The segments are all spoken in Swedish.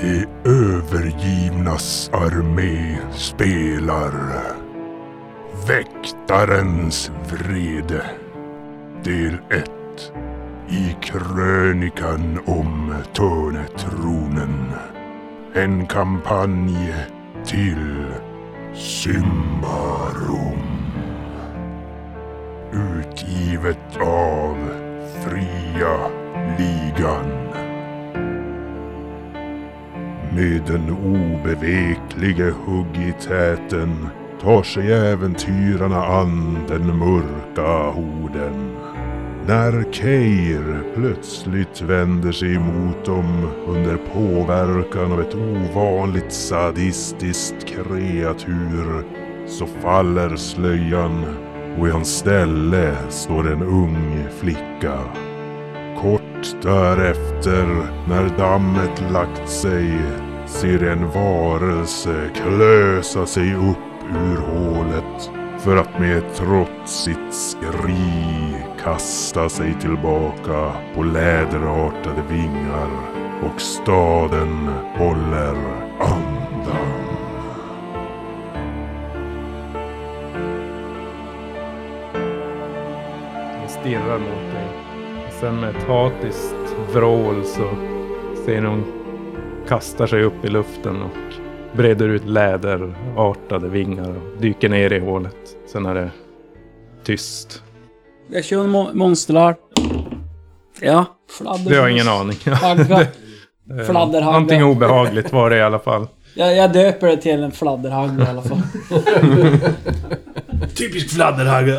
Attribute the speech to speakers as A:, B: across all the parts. A: De övergivnas armé spelar Väktarens vrede Del 1 I krönikan om Törnetronen En kampanj till Symbarum Utgivet av Fria Ligan med den obeveklige hugg i täten tar sig äventyrarna an den mörka horden. När Keir plötsligt vänder sig emot dem under påverkan av ett ovanligt sadistiskt kreatur så faller slöjan och i hans ställe står en ung flicka. Kort därefter, när dammet lagt sig, ser en varelse klösa sig upp ur hålet för att med ett trotsigt skri kasta sig tillbaka på läderartade vingar och staden håller andan.
B: Den stirrar mot dig. Och sen med ett hatiskt vrål så ser ni hon kastar sig upp i luften och breder ut läderartade vingar och dyker ner i hålet. Sen är det tyst.
C: Jag kör en mon- monsterlar. Ja, fladdermus.
B: Du har ingen aning.
C: Hagga.
B: Eh,
C: Fladderhagga.
B: Någonting obehagligt var det i alla fall.
C: Jag, jag döper det till en fladderhagga i alla fall.
D: Typisk fladderhagga.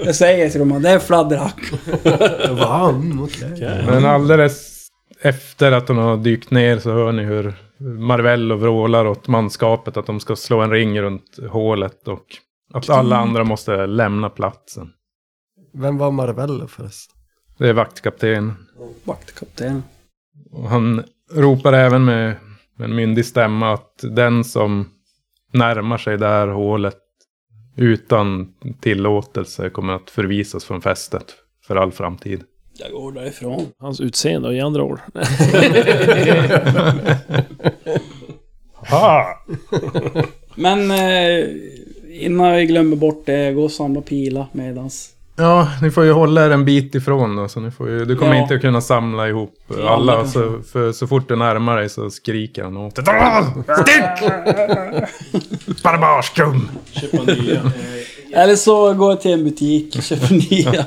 C: Jag säger till dem att det är en fladderhagga.
D: Vann, okej.
B: Men alldeles efter att hon har dykt ner så hör ni hur Marvello vrålar åt manskapet att de ska slå en ring runt hålet och att alla andra måste lämna platsen.
D: Vem var Marvello förresten?
B: Det är vaktkaptenen.
C: Vaktkapten.
B: Och han ropar även med, med en myndig stämma att den som närmar sig det här hålet utan tillåtelse kommer att förvisas från fästet för all framtid.
C: Jag går därifrån.
E: Hans utseende i andra ord.
C: Men eh, innan vi glömmer bort det, jag går och samlar pilar medans.
B: Ja, ni får ju hålla er en bit ifrån då, så ni får ju, du kommer
C: Ja.
B: inte att kunna samla ihop
C: Ja,
B: alla.
C: men-
B: Så, för så fort du närmar dig så skriker han åt dig. Stick! Barbarskum!
C: Eller så går jag till en butik och köper nya.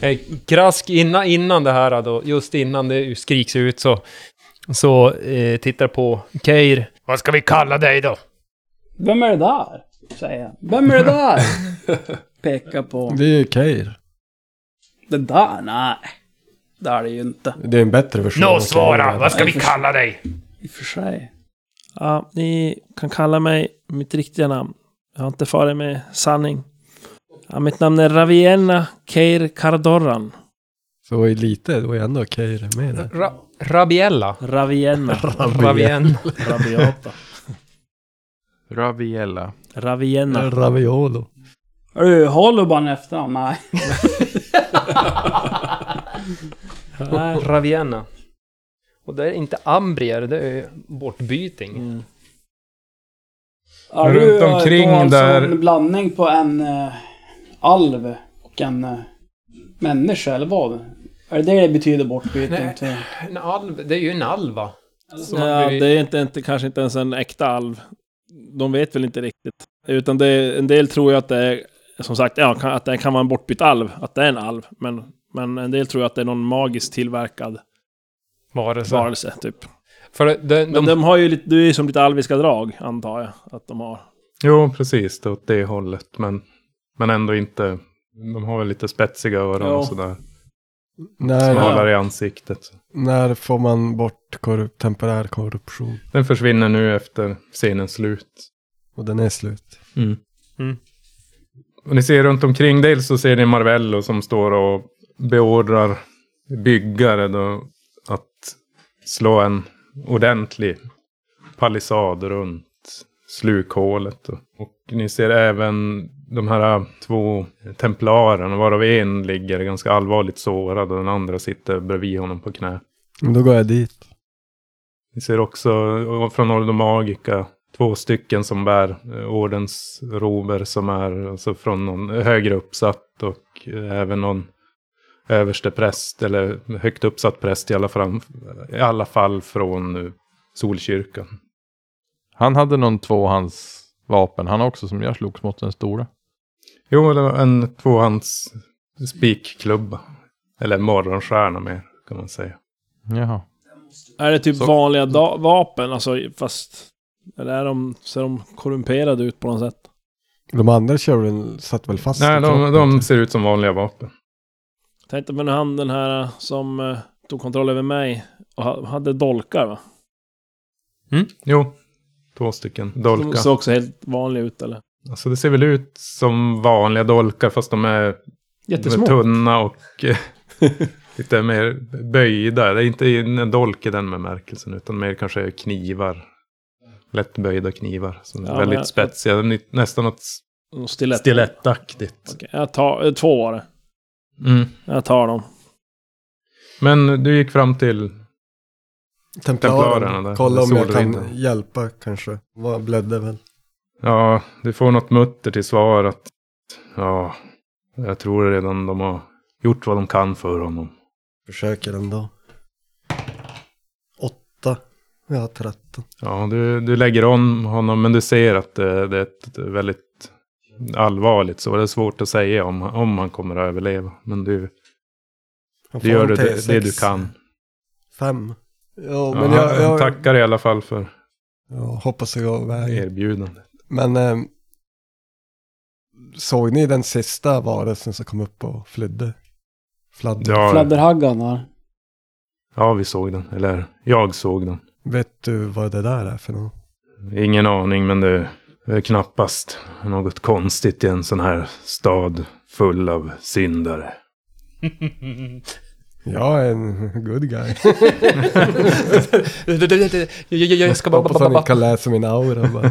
F: Eh, Krask innan, innan det här då, just innan det skriks ut så, så eh, tittar på Keir. Vad ska vi kalla dig då?
C: Vem är det där? Säger jag. Vem är det där? Pekar på.
E: Det är Keir.
C: Det där? Nej. Det är det ju inte.
D: Det är en bättre version. av
F: Nå
D: Keir.
F: svara, vad ska vi kalla dig?
C: I och för sig.
E: Ja, ni kan kalla mig mitt riktiga namn. Jag har inte farit med sanning. Ja, mitt namn är Ravienna Keir Kardorran.
D: Så i lite, då är ändå Keir med där.
F: Ra Rabiella?
E: Ravienna.
F: Ravien.
E: Rabiata.
G: Raviella.
E: Ravienna.
D: Raviolo.
C: Har du Holuban efter honom? Nej.
F: Nej, Ravienna. Och det är inte ambrier, det är bortbyting.
E: Mm.
C: Är
B: Runt
C: eh,
B: omkring
C: då
B: där-
C: en blandning på en eh, alv och en eh, människa, eller vad? Är det det det betyder bortbytning?
F: Nej.
C: Till?
F: En alv, det är ju en alva. Som har
E: Ja,
F: blivit-
E: det är inte, inte, kanske inte ens en äkta alv. De vet väl inte riktigt. Utan det, är- en del tror ju att det är, som sagt, ja, kan, att det kan vara en bortbytt alv. Att det är en alv. Men, men en del tror ju att det är någon magiskt tillverkad
F: varelse.
E: varelse, typ.
F: För det, det,
E: Men
F: de,
E: de har ju lite, det är ju som lite alviska drag, antar jag. Att de har.
B: Jo, precis. Det är åt det hållet. Men, men ändå inte. De har väl lite spetsiga öron
E: Ja.
B: och sådär.
D: När,
B: Smalare i ansiktet.
D: när får man bort korrup temporär korruption?
B: Den försvinner nu efter scenens slut.
D: Och den är slut.
B: Och ni ser runt omkring, dels så ser ni Marvello som står och beordrar byggare då att slå en ordentlig palissad runt slukhålet. Och, och ni ser även de här två templarerna, varav en ligger ganska allvarligt sårad och den andra sitter bredvid honom på knä.
D: Men Då går jag dit.
B: Vi ser också eh, från Ordo Magica två stycken som bär eh, ordensrober som är alltså från någon högre uppsatt och eh, även någon överste präst eller högt uppsatt präst i alla fall, i alla fall från eh, Solkyrkan.
G: Han hade någon tvåhandsvapen, han också, som jag slogs mot den stora.
B: Jo, det var en tvåhands spikklubba. Eller morgonstjärna mer, kan man säga.
G: Jaha.
E: Är det typ
G: Så-
E: vanliga da- vapen? Alltså fast... Eller är de, ser de korrumperade ut på något sätt?
D: De andra tjuren satt väl fast?
B: Nej,
D: i
B: de,
D: kroppen,
B: de
D: typ.
B: ser ut som vanliga vapen.
E: Tänkte men han den här som eh, tog kontroll över mig och ha- hade dolkar va?
B: Jo, två stycken
E: De
B: dolkar.
E: såg också helt vanliga ut eller?
B: Alltså det ser väl ut som vanliga dolkar fast de är de är
E: Jättesmå.
B: tunna och eh, lite mer böjda. Det är inte en dolk i den bemärkelsen utan mer kanske knivar. Lättböjda knivar som är
E: Ja, men
B: väldigt
E: jag-
B: spetsiga. Ny- Nästan något
E: Och Stilett.
B: stilettaktigt.
E: Okej, jag tar... eh, Två var det.
B: Mm.
E: Jag tar dem.
B: Men du gick fram till Templarerna
D: Templarerna.
B: där.
D: Kolla om jag
B: Solriddaren.
D: kan hjälpa kanske. Vad blödde väl?
B: Ja, du får något mutter till svar att ja, jag tror redan de har gjort vad de kan för honom.
D: Försöker ändå. Åtta. Jag har tretton.
B: Ja, du, du lägger om honom men du ser att det, det är ett väldigt allvarligt så det är svårt att säga om, om han kommer att överleva. Men du, du
D: Han får
B: gör
D: en
B: det,
D: T6.
B: det du kan.
D: Fem. Ja,
B: Ja,
D: men jag,
B: han
D: jag,
B: tackar i alla fall för
D: jag hoppas jag går vägen.
B: erbjudandet.
D: Men ehm, såg ni den sista varelsen som kom upp och flydde? Fladder.
B: Ja,
C: Fladderhaggan där.
B: ja, vi såg den. Eller jag såg den.
D: Vet du vad det där är för något?
B: Ingen aning, men det är knappast något konstigt i en sån här stad full av syndare.
D: Jag är en good guy.
F: Jag- jag- jag ska bara-
D: Hoppas
F: bara
D: han
F: bara-
D: inte kan läsa min aura bara.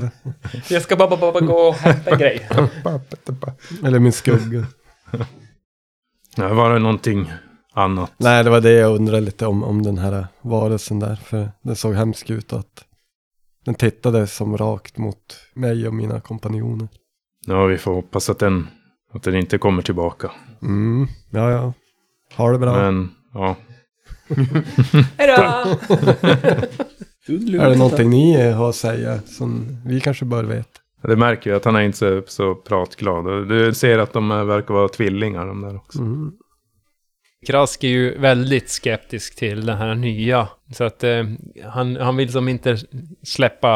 F: jag ska bara- bara bara- bara gå och hämta en grej.
D: Eller min skugga.
B: Ja, var det någonting annat?
D: Nej, det var det jag undrade lite om, om den här varelsen där. För den såg hemsk ut och att den tittade som rakt mot mig och mina kompanjoner.
B: Ja, vi får hoppas att den, att den inte kommer tillbaka.
D: Mm, ja, ja. Ha det bra.
B: Men, ja.
F: Hejdå!
D: är det någonting ni eh, har att säga som vi kanske bör veta?
B: Det märker jag att han är inte så, så pratglad. Och Du ser att de eh, verkar vara tvillingar de där också.
D: Mm.
F: Krask är ju väldigt skeptisk till den här nya. Så att eh, han, han vill som inte släppa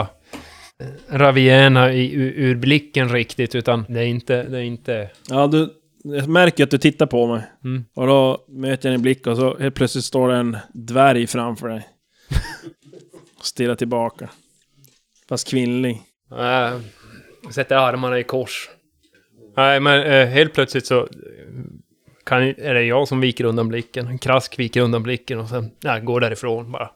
F: eh, Raviena i, ur, ur blicken riktigt, utan det är inte... Det är inte
E: Ja, du... Jag märker att du tittar på mig.
F: mm.
E: Och då möter jag din blick och så helt plötsligt står det en dvärg framför dig. och stirrar tillbaka. Fast kvinnlig.
F: äh, sätter armarna i kors. Nej, men eh, helt plötsligt så eh, kan, är det jag som viker undan blicken. Krask viker undan blicken och sen nej, går därifrån bara.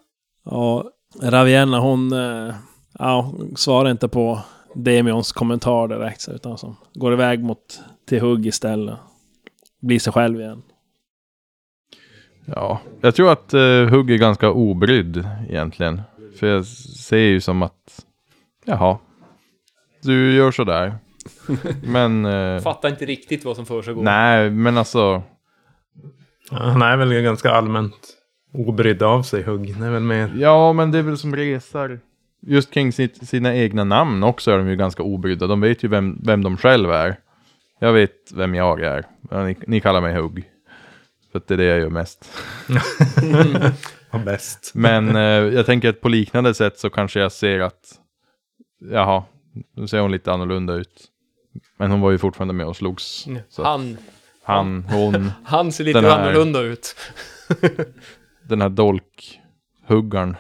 E: Ja, Ravienna hon... eh, Ja, hon svarar inte på Demions kommentar direkt. så, Utan som går iväg mot till hugg istället. Blir sig själv igen.
G: Ja, jag tror att eh, Hugg är ganska obrydd egentligen. För jag ser ju som att, jaha, du gör sådär. men, eh,
F: Fattar inte riktigt vad som försiggår.
G: nej, men alltså,
B: Ja, Han är väl ganska allmänt obrydd av sig, Hugg. Det är väl mer...
G: ja men det är väl som resar. Just kring sitt, sina egna namn också är de ju ganska obrydda. De vet ju vem, vem de själva är. Jag vet vem jag är. Ja, Ni, ni kallar mig Hugg. För att det är det jag gör mest.
B: Vad bäst.
G: Men eh, jag tänker att på liknande sätt så kanske jag ser att, jaha, nu ser hon lite annorlunda ut. Men hon var ju fortfarande med och slogs. Så att
F: Mm. Han,
G: han, hon,
F: han ser lite
G: Den här-
F: annorlunda ut.
G: den här dolkhuggaren.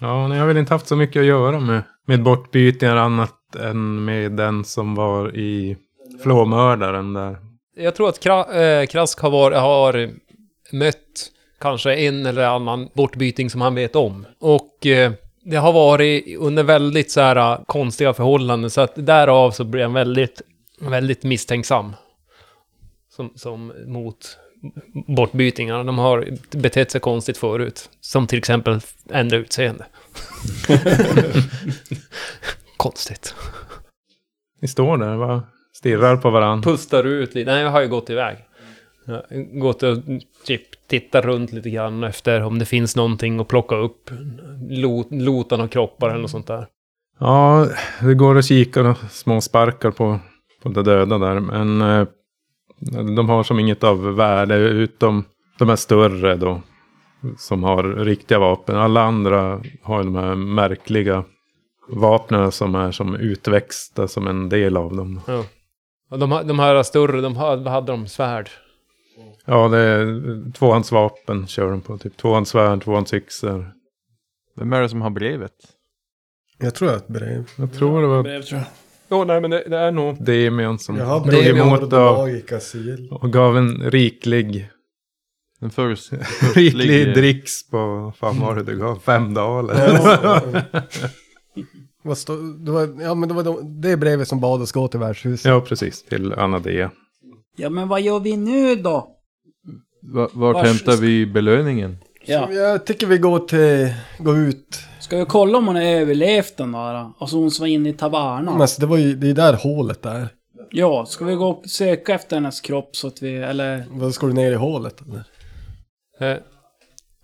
B: Ja, nej, jag har väl inte haft så mycket att göra med, med bortbytningar annat än med den som var i flåmördaren där.
F: Jag tror att Kra eh, Krask har, var, har mött kanske en eller annan bortbyting som han vet om. Och eh, det har varit under väldigt så här eh, konstiga förhållanden, så att därav så blir han väldigt, väldigt misstänksam. Som, som mot bortbytingarna. De har betett sig konstigt förut. Som till exempel ändra utseende. konstigt.
B: Ni står där va? Stirrar på varandra.
F: Pustar ut lite. Nej, jag har ju gått iväg. Jag har gått och typ tittat runt lite grann efter om det finns någonting att plocka upp. Lot, lotan och kroppar eller något sånt där.
B: Ja, det går att kika och små sparkar på, på de döda där. Men eh, de har som inget av värde utom de här större då. Som har riktiga vapen. Alla andra har ju de här märkliga vapnen som är som utväxta som en del av dem.
F: Ja. Och de, här- de här större, de här, vad hade de? Svärd?
B: Ja, det är tvåhandsvapen kör de på. Typ tvåhandssvärd, tvåhandsyxor.
G: Vem är det som har brevet?
D: Jag tror jag har ett brev.
B: Jag tror det var...
E: Brev, tror jag.
B: Åh nej, men det, det är nog Demion som
D: Jag har
B: tog
D: brev i
B: Mm. emot
D: Ordo
B: och,
D: Magica Seal.
B: och gav en riklig
G: Den först,
B: Riklig dricks på, fan var det du gav? Fem daler?
D: Vad står- det var, ja men det var de, det brevet som bad oss gå till värdshuset.
B: ja, precis. Till Anadea.
C: Ja, men vad gör vi nu då?
G: Va- Vart
C: Vars-
G: hämtar vi belöningen?
C: Ja.
D: Så Jag tycker vi går till, går ut.
C: Ska vi kolla om hon har överlevt den där? Alltså hon som var inne i
D: Men
C: tavernan.
D: alltså, det var ju, det är där hålet är.
C: Ja, ska vi gå och söka efter hennes kropp så att vi, eller?
D: Vad ska du ner i hålet eller?
F: Eh,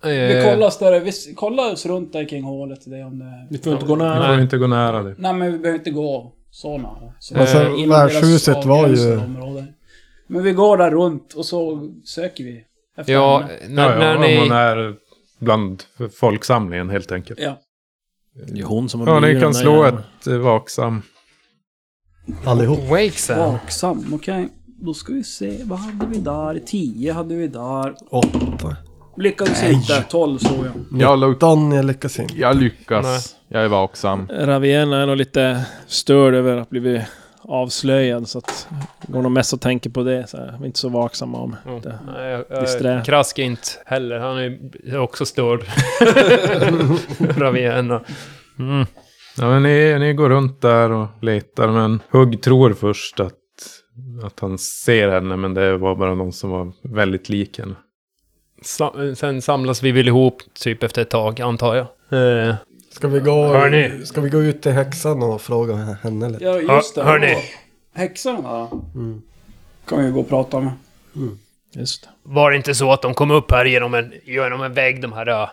C: Vi
F: eh,
C: kollar större, vi s- kollar oss runt där kring hålet det om det...
E: Vi får inte gå
B: Du
E: nära.
B: får inte gå nära det.
C: Nej men vi behöver inte gå så nära. Så
D: Alltså,
C: eh, inom deras
D: värdshuset var ju-
C: avgränsade område. Men vi går där runt och så söker vi. Efter
F: Ja,
C: henne.
B: Ja,
F: när,
B: ja,
F: när
B: om
F: ni...
B: hon är bland folksamlingen helt enkelt.
C: Ja.
E: Det är hon som har
B: Ja, ni
E: blivit
B: kan
E: den där
B: slå
E: jäveln.
B: ett eh, vaksam.
D: Allihop.
F: Wakesen.
C: Vaksam, okej. Då ska vi se, vad hade vi där? 10 hade vi där.
D: Åtta.
C: Lyckades inte, 12 såg jag.
G: Jag, lu-
D: Nitton, jag lyckas inte.
G: jag lyckas. Jag är vaksam.
E: Ravienna är nog lite störd över att bli avslöjad så att går nog mest och tänker på det. Så här. Vi är inte så vaksamma om
F: Ja.
E: det.
F: Nej, jag-
E: Disträ.
F: jag- Krask är inte heller. Han är också störd. Ravienna. Mm.
B: Ja, men ni, ni går runt där och letar, men Hugg tror först att, att han ser henne, men det var bara någon som var väldigt lik henne.
F: Sa- sen samlas vi väl ihop typ efter ett tag, antar jag. Eh,
D: Ska vi gå,
F: Hörni.
D: ska vi gå ut till häxan och fråga henne lite?
C: Ja, just det.
F: Hör- hörni.
C: Häxan där
D: Mm.
C: kan vi gå och prata med.
E: Just det.
F: var det inte så att de kom upp här genom en, genom en vägg, de här uh,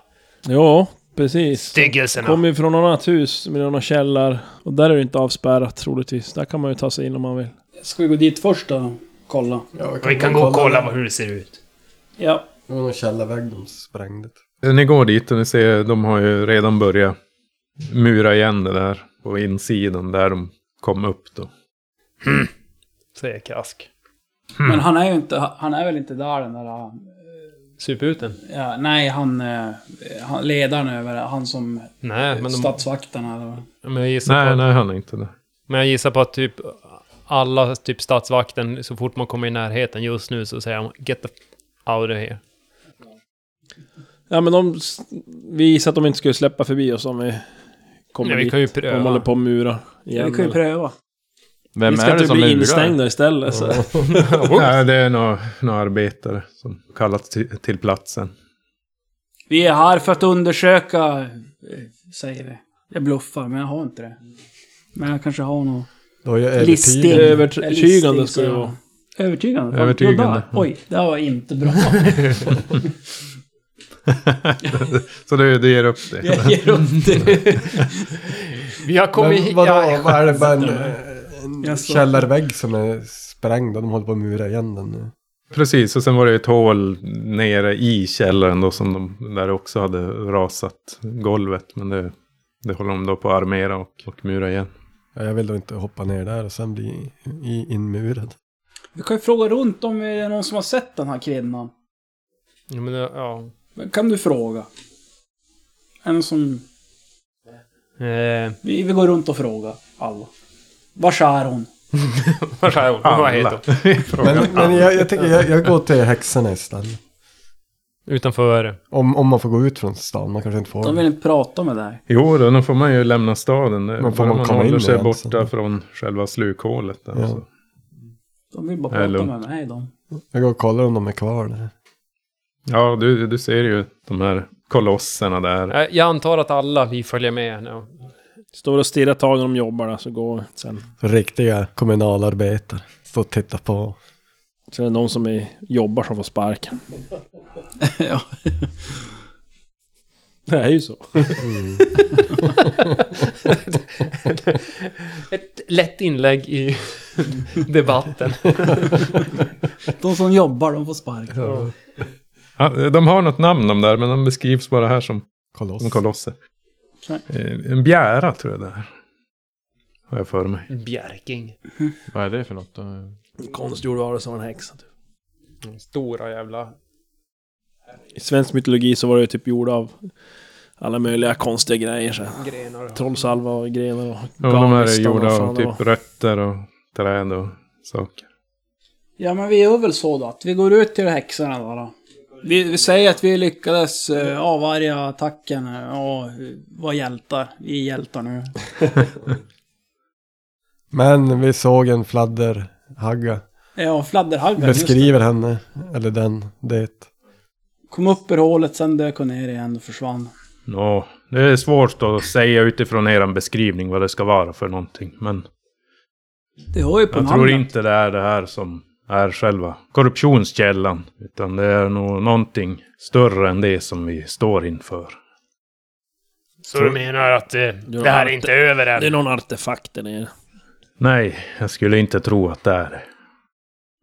E: Ja, precis.
F: styggelserna?
E: Kommer ju från något annat hus med någon källar. Och där är det inte avspärrat troligtvis. Där kan man ju ta sig in om man vill.
C: Ska vi gå dit först då? Kolla.
F: vi kan gå och kolla vad- hur det ser ut.
C: Ja.
D: Det var någon källarvägg de sprängde.
B: Eh, Ni går dit och ni ser, de har ju redan börjat mura igen det där på insidan där de kom upp då.
F: Säger Krask.
C: Men han är ju inte, han är väl inte där den där... eh,
F: Sup ut den?
C: Ja, nej, han, eh, han... Ledaren över han som...
F: Nej, men, de,
C: Statsvakten eller vad.
F: men, jag gissar
B: Nej,
F: på,
B: nej, han är inte där.
F: men jag gissar på att typ alla, typ statsvakten, så fort man kommer i närheten just nu så säger han “Get the f- out of here”.
E: Ja, men de... s- Vi gissade att de inte skulle släppa förbi oss om vi kommer
F: Nej, vi
E: dit.
F: kan
E: De
F: ju
E: håller
F: pröva.
E: på och murar igen.
C: Vi kan ju
E: eller?
C: pröva.
G: Vem
E: vi ska
G: är det
E: inte
G: som
E: bli
G: lurar?
E: instängda istället. Så.
B: Nej, det är några, några arbetare som kallats till, till platsen.
C: Vi är här för att undersöka... eh, Säger vi. Jag bluffar, men jag har inte det. Men jag kanske har något...
D: Det var ju
C: Listig.
D: övertiden.
E: Övertygande ska det vara.
C: Övertygande? Fan,
B: Övertygande.
C: det var där. Oj, det var inte bra.
B: Så du, du ger upp det?
C: Jag ger upp det.
F: Vi har kommit
D: Men
F: hit.
D: vadå,
F: ja,
D: vad är det bara en, en
C: Jag såg-
D: källarvägg som är sprängd och de håller på att mura igen den nu?
B: Precis, och sen var det ett hål nere i källaren då som de där också hade rasat golvet. Men det, det håller de då på att armera och, och mura igen.
D: Ja, jag vill då inte hoppa ner där och sen bli i, inmurad.
C: Vi kan ju fråga runt om det är någon som har sett den här kvinnan.
F: Ja, men, ja.
C: Men Kan du fråga? En som...
F: Eh,
C: Vi, vi går runt och frågar alla. Vars är hon?
F: vad är hon? Vad heter hon?
D: Men, men jag, jag tänker, jag, jag går till häxorna istället.
F: Utanför...
D: Om, om man får gå ut från stan, man kanske inte får.
C: De vill inte prata med dig.
B: Jo, då, då får man ju lämna staden.
D: Men
B: Men
D: får man
B: man
D: komma
B: håller
D: in
B: sig
D: igen
B: borta
D: sen?
B: alltså. från själva slukhålet. Där,
D: Ja.
B: så.
C: De vill bara
B: Det är
C: prata med
B: lugnt.
C: mig. Hej då.
D: Jag går och kollar om de är kvar där.
B: Ja, du, du ser ju de här kolosserna där.
F: Eh, Jag antar att alla vi följer med nu.
E: Står och stirrar ett tag när de jobbar där, så går sen.
D: Riktiga kommunalarbetare. Står och tittar på.
E: Så är det någon som är, jobbar som får sparken.
C: ja.
E: Det är ju så.
F: Mm. Ett lätt inlägg i debatten.
C: De som jobbar, de får spark.
B: Ja, de har något namn de där, men de beskrivs bara här som,
D: Koloss.
B: som kolosser.
C: Okej.
B: Eh, En bjära tror jag det är. Har jag för mig.
F: Bjärking.
G: Vad är det för något?
E: Konstgjord varelse var en häxa. Typ.
F: Mm, Stora jävla...
E: I svensk mytologi så var det ju typ gjord av alla möjliga konstiga grejer. Så. här.
F: grenar.
E: Trollsalva och grenar och
B: Ja, de här är
E: garnistan och
B: gjorda
E: vad fan
B: av
E: det var.
B: typ rötter och träd och saker.
C: Ja, men vi gör väl så då. Att vi går ut till häxorna då. då. Vi, vi säger att vi lyckades eh, avvärja attacken eh, och eh, var hjältar. Vi är hjältar nu.
D: Men vi såg en fladderhagga.
C: Ja, fladderhaggar. just det.
D: Beskriver henne. Eller den. Det.
C: Kom upp ur hålet, sen dök hon ner igen och försvann.
B: Ja, det är svårt att säga utifrån er beskrivning vad det ska vara för någonting. Men
C: Det har ju på
B: jag
C: namnet.
B: tror inte det är det här som är själva korruptionskällan. Utan det är nog någonting större än det som vi står inför.
F: Så du menar att eh, det här är inte över
E: Det är
F: än?
E: någon artefakt där nere.
B: Nej, jag skulle inte tro att det är det.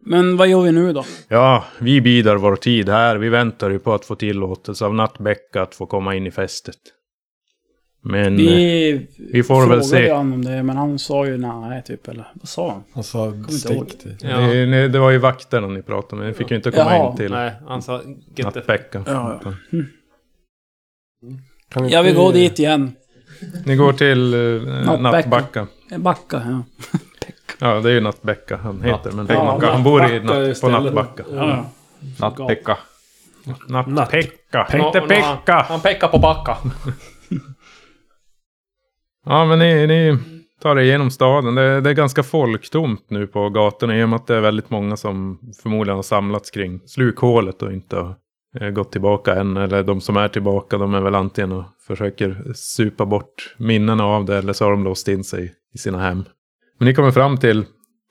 C: Men vad gör vi nu då?
B: Ja, vi bidar vår tid här. Vi väntar ju på att få tillåtelse av Nattbäcka att få komma in i fästet. Men eh,
C: Vi,
B: vi får väl se. Mm.
C: frågade han om det, men han sa ju nej typ, eller vad sa han?
D: Och så
C: ihåg.
D: stick till.
F: Ja.
B: Det, nej, det var ju vakterna ni pratade med. Ni fick ju inte komma
C: Jaha,
B: in till
F: Nej, han sa... Götte.
B: Nattbäcka.
C: Ja,
D: Kan
C: Ja, vi
D: inte-
C: går dit igen.
B: Ni går till eh,
C: Nattbäcka.
B: Nattbacka.
C: Backa, ja.
B: Ja, det är ju Nattbäcka han heter. Men
C: Ja,
B: han, han bor i
E: Nattbacka är
B: natt, på
E: stället.
B: Nattbacka.
C: ja.
G: Nattpekka.
B: Nattpekka. Inte
F: Nå- nå-
B: Pekka!
F: Han pekar på backa.
B: Ja, men ni, ni tar er igenom staden. Det, det är ganska folktomt nu på gatorna i och med att det är väldigt många som förmodligen har samlats kring slukhålet och inte har eh, gått tillbaka än. Eller de som är tillbaka, de är väl antingen och försöker supa bort minnena av det eller så har de låst in sig i sina hem. Men ni kommer fram till,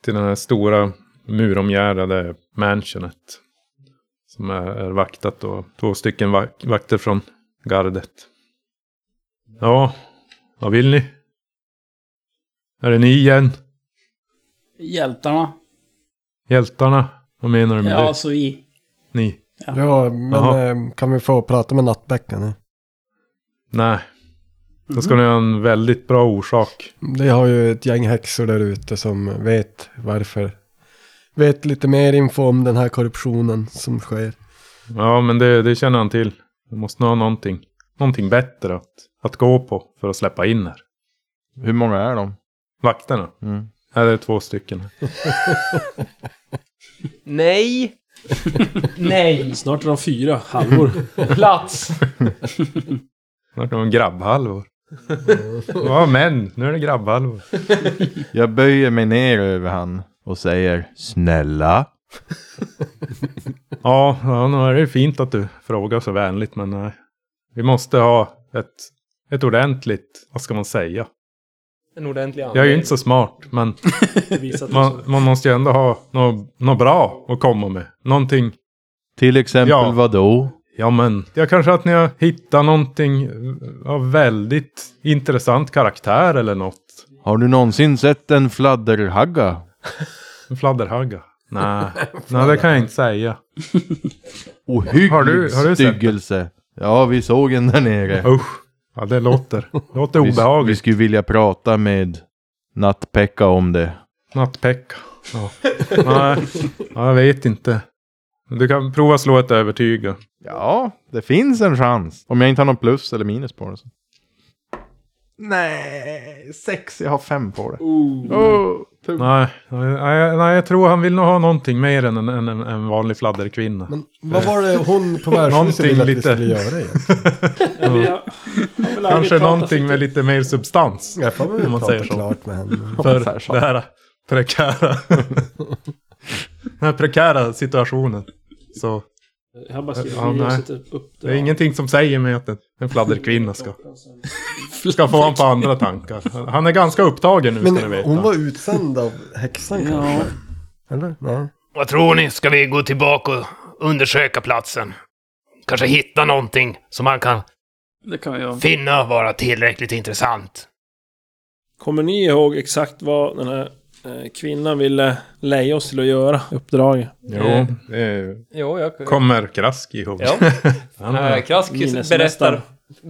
B: till den här stora muromgärdade mansionet. Som är, är vaktat och två stycken vak- vakter från gardet. Ja, vad vill ni? Är det ni igen?
C: Hjältarna.
B: Hjältarna? Vad menar du med
C: Ja,
B: det?
C: alltså vi.
B: Ni?
D: Ja, men
B: Jaha.
D: eh, kan vi få prata med nattbäcken nu?
B: Nej. Då ska ni ha en väldigt bra orsak.
D: Det har ju ett gäng häxor där ute som vet varför. Vet lite mer info om den här korruptionen som sker.
B: Ja, men det, det känner han till. Du måste ha någonting. Någonting bättre att, att gå på för att släppa in här.
G: Hur många är de?
B: Vakterna?
G: Mm.
B: Nej, det är två stycken.
F: Nej! Nej!
E: Snart är de fyra halvor.
F: Plats!
B: Snart är de grabbhalvor. Ja, män. Nu är det grabbhalvor.
G: Jag böjer mig ner över han och säger Snälla.
B: Ja, ja, nu är det ju fint att du frågar så vänligt, men nej. Vi måste ha ett, ett ordentligt, vad ska man säga?
F: En ordentlig anledning.
B: Jag är ju inte så smart, men man, man måste ju ändå ha något nå bra att komma med. Någonting.
G: Till exempel
B: Ja.
G: vadå?
B: Ja, men jag kanske att ni har hittat någonting av väldigt intressant karaktär eller något.
G: Har du någonsin sett en fladderhagga?
B: En fladderhagga. Nej, nej det kan jag inte säga.
G: Ohygglig
B: Har du- har du sett
G: styggelse. Ja, vi såg en där nere.
B: Usch. Ja, det låter, låter
G: Vi, vi
B: obehagligt.
G: skulle vilja prata med Nattpekka om det.
B: Nattpekka. Ja. Nej, ja, jag vet inte. Du kan prova slå ett övertyga.
G: Ja, det finns en chans. Om jag inte har någon plus eller minus på det. Så. Nej, sex. Jag har fem på det. Oh, tur.
B: Nej, nej, nej, jag tror han vill nog ha någonting mer än en, en, en- en vanlig fladderkvinna.
D: Men vad var det hon på värdshuset
B: Någonting
D: ville att vi
B: lite.
D: skulle göra igen?
B: Kanske någonting med lite mer substans.
D: Jag får
B: Om
D: väl
B: man
D: prata
B: säger så.
D: klart med henne.
B: För det här prekära. här prekära situationen. Så
E: Jag har bara skrivit
B: Ja,
E: ner och
B: nej.
E: satt typ upp
B: det är ingenting som säger mig att en- en fladderkvinna ska, ska få honom på andra tankar. Han är ganska upptagen nu
D: Men
B: ska ni veta.
D: hon var utsänd av häxan
C: Ja.
D: kanske? Eller? Nej.
F: Vad tror ni? Ska vi gå tillbaka och undersöka platsen? Kanske hitta någonting som han kan
C: Det kan vi göra.
F: finna vara tillräckligt intressant.
E: Kommer ni ihåg exakt vad den här eh, kvinnan ville leja oss till att göra i uppdraget?
B: Jo, det
F: Jo, jag...
B: kommer Krask ihåg.
F: Ja.
B: Han,
F: Eh, Krask
E: Minnesmästare.
F: berättar...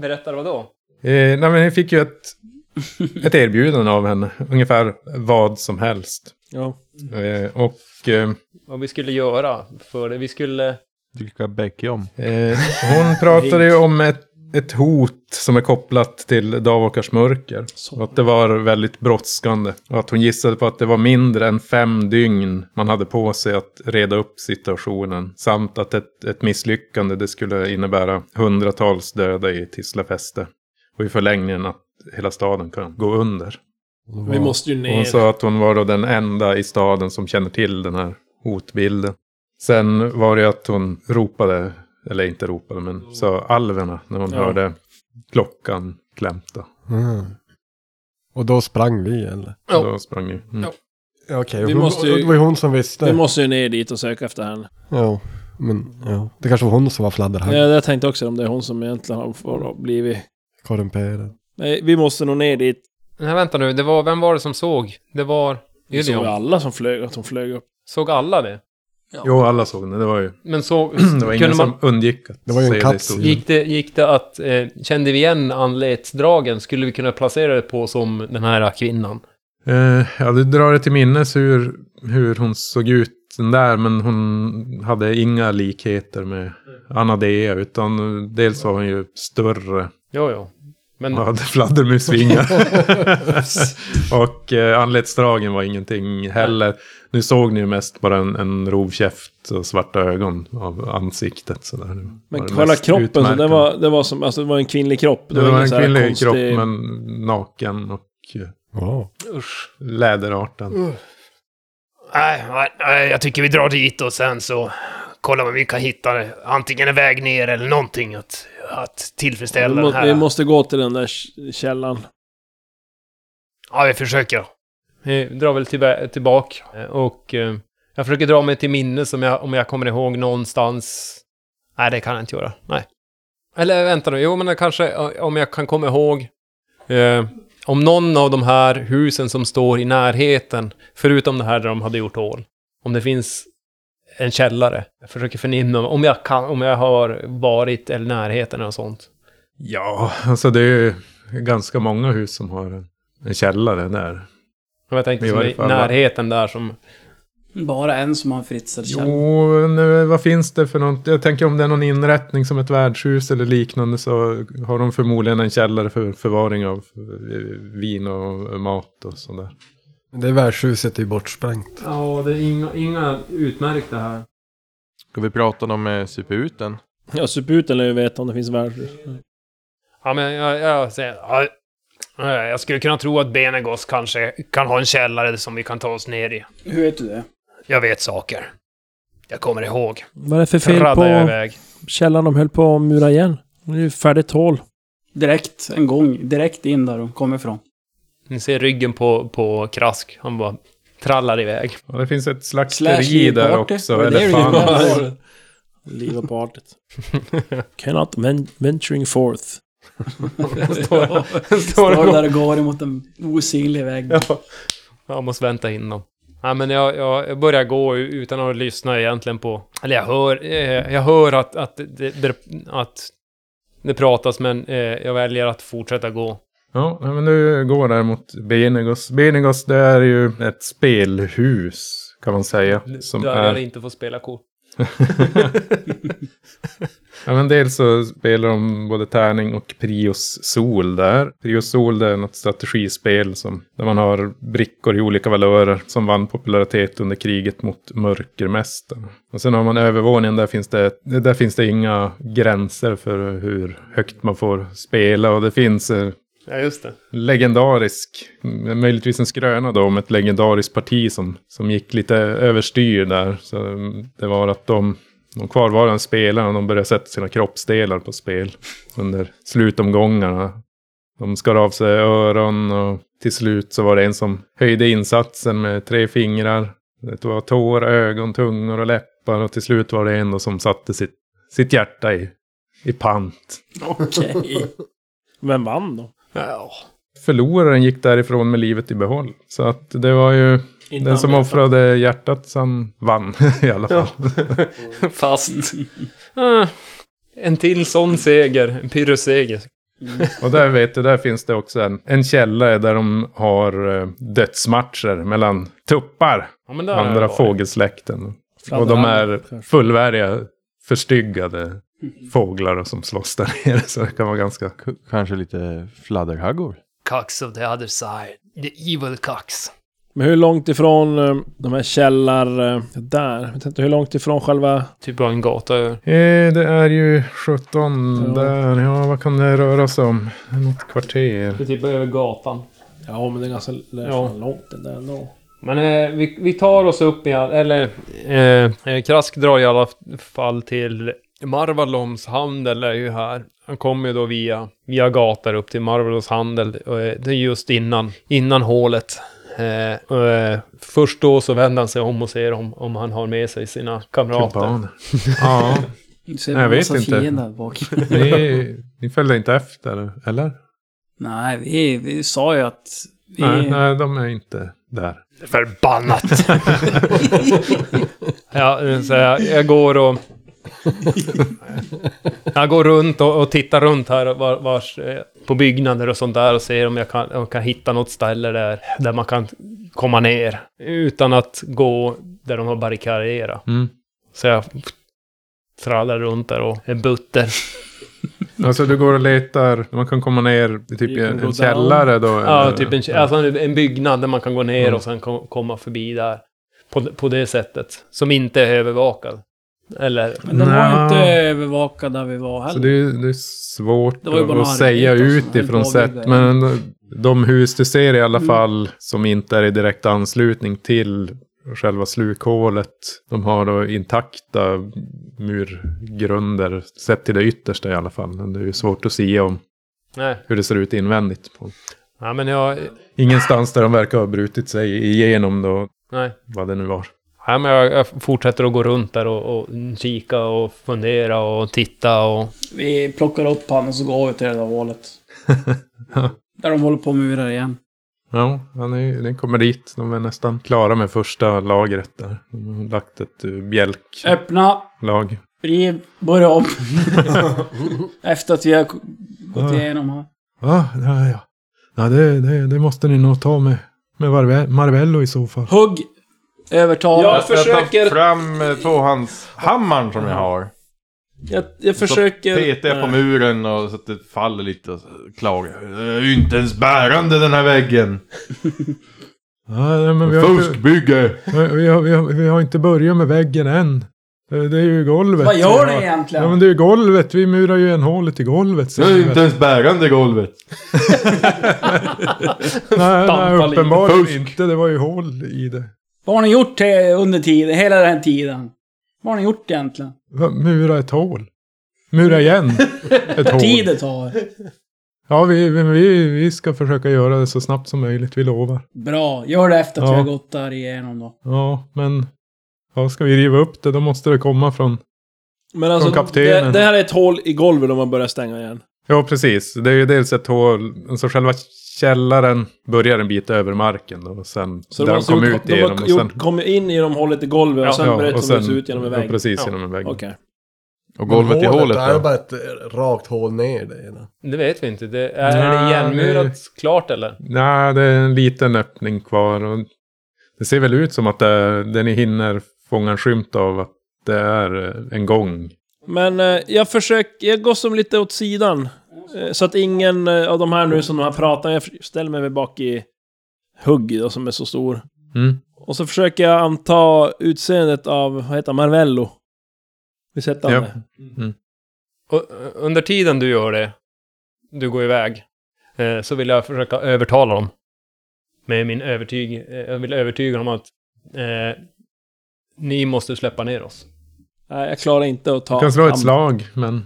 F: Berättar vad då?
B: Eh, nej, men jag fick ju ett, ett erbjudande av henne. Ungefär vad som helst.
E: Ja.
B: Eh, och eh,
F: Vad vi skulle göra för det? Vi skulle...
G: Dricka bäcke om.
B: eh, hon pratade ju om ett, ett hot som är kopplat till Davokars mörker. Och att det var väldigt brådskande. Och att hon gissade på att det var mindre än fem dygn man hade på sig att reda upp situationen. Samt att ett, ett misslyckande det skulle innebära hundratals döda i Tislafäste. Och i förlängningen att hela staden kan gå under.
E: Vi måste ju
B: Och
E: ner.
B: Hon sa att hon var då den enda i staden som känner till den här hotbilden. Sen var det att hon ropade, eller inte ropade, men sa alverna när hon
E: Ja.
B: hörde klockan klämta.
D: Mm. Och då sprang vi eller?
F: Ja.
B: Då sprang ni. Mm.
F: Ja.
D: Ja, Okej,
E: Vi
D: hon-
E: måste ju-
D: det var ju hon som visste.
E: Vi måste ju ner dit och söka efter henne.
D: Ja, men ja. Det kanske var hon som var
E: Ja,
D: fladderhaj.
E: jag tänkte också om det är hon som egentligen har- har blivit...
D: Korrumperad.
E: Nej, vi måste nog ner dit.
F: Nej, vänta nu. Det var... Vem var det som såg? Det var...
E: Vi såg
F: Ilion.
E: alla som flög, att hon flög upp.
F: Såg alla det?
B: Jo, alla såg det. Det var ju...
F: Men såg...
B: Det var ingen
F: kunde man...
B: som undgick att
D: Det var ju en
B: se det
D: katt.
B: historiskt.
F: Gick det, gick det att... Eh, kände vi igen anletsdragen? Skulle vi kunna placera det på som den här kvinnan?
B: Eh, ja, du drar det till minnes hur, hur hon såg ut den där, men hon hade inga likheter med Anadea, utan eh, dels var hon ju större
F: Jo, jo. Men...
B: Man hade fladdermusvingar. och eh, anletsdragen var ingenting heller. Nu såg ni ju mest bara en, en rovkäft och svarta ögon av ansiktet. Så där. Det var
E: Men
B: det
E: kolla
B: mest
E: kroppen, så det,
B: utmärkande.
E: var, det, var som, alltså, det var en kvinnlig kropp.
B: Det var
E: ingen
B: en
E: så här
B: kvinnlig
E: konstig-
B: kropp, men naken och eh,
D: Wow.
B: läderartad.
E: Mm.
H: Nej, nej, nej, jag tycker vi drar dit och sen så kollar vad vi kan hitta. Antingen en väg ner eller någonting att, att tillfredsställa
E: Vi, må,
H: den här.
E: vi måste gå till den där k- källan.
H: Ja, vi försöker.
F: Vi drar väl tillba- tillbaka och eh, jag försöker dra mig till minne som jag, om jag kommer ihåg någonstans. Nej, det kan jag inte göra. Nej. Eller vänta nu, jo men det kanske eh, om jag kan komma ihåg eh, om någon av de här husen som står i närheten, förutom det här där de hade gjort hål, om det finns en källare. Jag försöker förnimma om jag kan, om jag har varit eller närheten eller något sånt.
B: Ja, alltså det är ju ganska många hus som har en, en källare där.
F: Men jag tänkte
B: Vi
F: som
B: var i
F: i
B: förra.
F: närheten där som...
C: Bara en som har en fritsad källa.
B: Jo, nu, vad finns det för något? Jag tänker om det är någon inrättning som ett värdshus eller liknande så har de förmodligen en källare för förvaring av eh, vin och mat och sådär.
D: Det värdshuset är ju bortsprängt.
F: Ja, det är inga, inga utmärkta här.
G: Ska vi prata om eh, superuten?
E: Ja, sup ut den lär ju veta om det finns värld.
H: Ja, men jag, jag säger... Ja, eh, jag skulle kunna tro att Benegos kanske kan ha en källare som vi kan ta oss ner i.
C: Hur vet du det?
H: Jag vet saker. Jag kommer ihåg.
E: Vad är det för fel
H: Raddar jag
E: på
H: iväg.
E: källan de höll på att mura igen? Det är ju färdigt hål.
C: Direkt, en gång, direkt in där de kommer ifrån.
F: Ni ser ryggen på, på Krask. Han bara trallar iväg.
B: Ja, det finns ett slakteri
C: Slash
B: där
C: party.
B: också.
C: Var det det
B: Eller
C: du
B: fan.
C: gjorde?
E: Liv och partyt. Cannot ven- venturing forth.
F: Står, står
C: Står
F: och
C: där och går emot en osynlig vägg.
F: Ja. Jag måste vänta in dem. Ja, men jag, jag, jag börjar gå utan att lyssna egentligen på... Eller jag hör, eh, jag hör att, att, det, det, att det pratas, men eh, jag väljer att fortsätta gå.
B: Ja, nej, men nu går där mot Benegos. Benegos, det är ju ett spelhus kan man säga. Som
F: Där jag
B: är...
F: inte får spela kort.
B: Ja, men dels så spelar de både tärning och Prios Sol där. Prios Sol det är något strategispel som, där man har brickor i olika valörer som vann popularitet under kriget mot Mörkermästaren. Och sen har man övervåningen, där finns, det, där finns det inga gränser för hur högt man får spela och det finns eh,
H: Ja, just det.
B: legendarisk, mm, möjligtvis en skröna då om ett legendariskt parti som, som gick lite överstyr där. Så mm, det var att de, de kvarvarande spelarna, de började sätta sina kroppsdelar på spel under slutomgångarna. De skar av sig öron och till slut så var det en som höjde insatsen med tre fingrar. Det var tår, ögon, tungor och läppar och till slut var det en då som satte sitt, sitt hjärta i, i pant.
C: Okej.
E: Vem vann då?
H: Ja.
B: förloraren gick därifrån med livet i behåll. Så att det var ju den som offrade hjärtat som vann i alla fall.
F: Fast... eh, en till sån seger. En pyrrusseger.
B: Och där vet du, där finns det också en, en källa där de har eh, dödsmatcher mellan tuppar,
F: Ja, men har jag
B: andra
F: varit.
B: fågelsläkten. Och de är fullvärdiga, förstyggade fåglar som slåss där nere. Så det kan vara ganska...
G: K- kanske lite fladderhaggor?
H: Cucks of the other side. The evil cucks.
E: Men hur långt ifrån eh, de här källar... eh, Där? Jag vet inte, hur långt ifrån själva...
F: Typ bara en gata över.
B: Eh, det är ju 17
E: Ja.
B: där. Ja, vad kan det röra sig om? Något kvarter.
F: Det är typ över gatan.
E: Ja, men det är ganska det är
F: Ja.
E: fan långt det där ändå.
F: Men eh, vi, vi tar oss upp i... all- Eller... Eh, eh, Krask drar i alla fall till... Marvaloms handel är ju här. Han kommer ju då via, via gator upp till Marvalos handel. Och, eh, det är just innan, innan hålet. Eh, och, eh, först då så vänder han sig om och ser om, om han har med sig sina kamrater.
B: Kumpaner. Ja.
C: Du ser
B: Nej, jag
C: en
B: vet
C: massa
B: inte.
C: fiender där bak.
B: Ni, ni följde inte efter, eller?
C: Nej, vi, vi sa ju att... Vi...
B: Nej, nej, de är inte där.
H: Förbannat!
F: Ja, eh, så jag, jag går och... jag går runt och, och tittar runt här var, vars, eh, på byggnader och sånt där och ser om jag kan, om jag kan hitta något ställe där, där man kan komma ner. Utan att gå där de har barrikaderat.
B: Mm.
F: Så jag trallar runt där och är butter.
B: Alltså du går och letar, man kan komma ner i typ
E: You can
B: en,
E: go
B: en källare då?
F: Ja,
B: eller?
F: typ en, alltså en- en byggnad där man kan gå ner och sen ko- komma förbi där. På, på det sättet. Som inte är övervakad. Eller...
C: Men de var
B: Nja.
C: ju inte övervakade där vi
B: Så
C: var heller.
B: det, är- det är svårt
C: alltså, Det var ju bara
B: att
C: några
B: säga
C: arbeten som-
B: utifrån
C: en
B: sett,
C: avväg.
B: men de hus du ser i alla
C: Mm.
B: fall som inte är i direkt anslutning till själva slukhålet, de har då intakta murgrunder, sett till det yttersta i alla fall. Men det är ju svårt att se om
F: Nej.
B: hur det ser ut invändigt. På.
F: Ja, men jag...
B: Ingenstans där de verkar ha brutit sig igenom då,
F: Nej.
B: vad det nu var.
F: Ja, men jag, jag fortsätter att gå runt där och, och kika och fundera och titta och...
C: Vi plockar upp han och så går vi till det där hålet. där de håller på och murar igen.
B: Ja, han är, den kommer dit. De är nästan klara med första lagret där. De har lagt ett eh, bjälklag.
C: Öppna! Riv! Börja om! Efter att vi har k- gått
B: Ja.
C: igenom här.
B: Ja, ja, ja. ja det, det, det måste ni nog ta med, med Marve- Marvello i så fall.
C: Hugg! Övertala.
E: Ja.
C: Ja.
E: Jag försöker-
G: tar fram eh, tvåhandshammaren som jag har.
E: Jag, jag
G: Så
E: försöker...
G: Petar jag på muren och så att det faller lite och så klagar jag. Det är ju inte ens bärande den här väggen.
B: Ja, nej, men vi har, inte,
G: Fuskbygge!
B: vi, har, vi, har, vi har inte börjat med väggen än. Det, det är ju golvet.
C: Vad gör ni egentligen?
B: Ja, men det är ju golvet. Vi murar ju en hålet i golvet.
G: Det är ju inte ens bärande golvet.
B: nej,
F: stampa
B: nej,
F: lite.
B: uppenbarligen
G: Fusk.
B: inte. Det var ju hål i det.
C: Vad har ni gjort eh, under tiden, hela den här tiden? Vad har ni gjort egentligen?
B: Va, Mura ett hål. Mura igen ett hål.
C: Tid det tar.
B: Ja, vi, vi- vi, vi ska försöka göra det så snabbt som möjligt, vi lovar.
C: Bra, gör det efter att
B: Ja.
C: vi har gått där igenom då.
B: Ja, men... Ja, ska vi riva upp det, då måste det komma från...
E: Men alltså,
B: Från
E: det,
B: kaptenen.
E: det här är ett hål i golvet om man börjar stänga igen.
B: Ja, precis. Det är ju dels ett hål, alltså själva källaren börjar en bit över marken då, och sen... där
E: Så de
B: de
E: har alltså
B: kom
E: gjort,
B: ut
E: de
B: igenom
E: har
B: och sen...
E: gjort, kommit in genom hålet i golvet och sen
B: ja,
E: bröt
B: och
E: de sig ut genom en väg.
B: Ja, precis,
F: Ja,
B: genom en vägg.
E: Okej.
G: Och golvet i hålet
D: Det är
G: då?
D: bara ett eh, rakt hål ner det ena.
F: Det vet vi inte. Det, är det
B: Nej,
F: igenmurat klart eller?
B: Nej, det är en liten öppning kvar och... Det ser väl ut som att det, det ni hinner fånga en skymt av att det är eh, en gång.
E: Men eh, jag försöker, jag går som lite åt sidan. Eh, så att ingen eh, av de här nu som de här pratar, jag f- ställer mig väl bak i Hugg då, som är så stor.
B: Mm.
E: Och så försöker jag anta utseendet av, vad heter han, Marvello. Vi sätter
B: Ja.
E: han det?
F: Och, eh, under tiden du gör det, du går iväg, eh, så vill jag försöka övertala dem. Med min övertyg, eh, jag vill övertyga dem att eh, ni måste släppa ner oss.
E: Nej, jag klarar inte att ta...
B: Du kan slå
E: am-
B: ett slag, men Det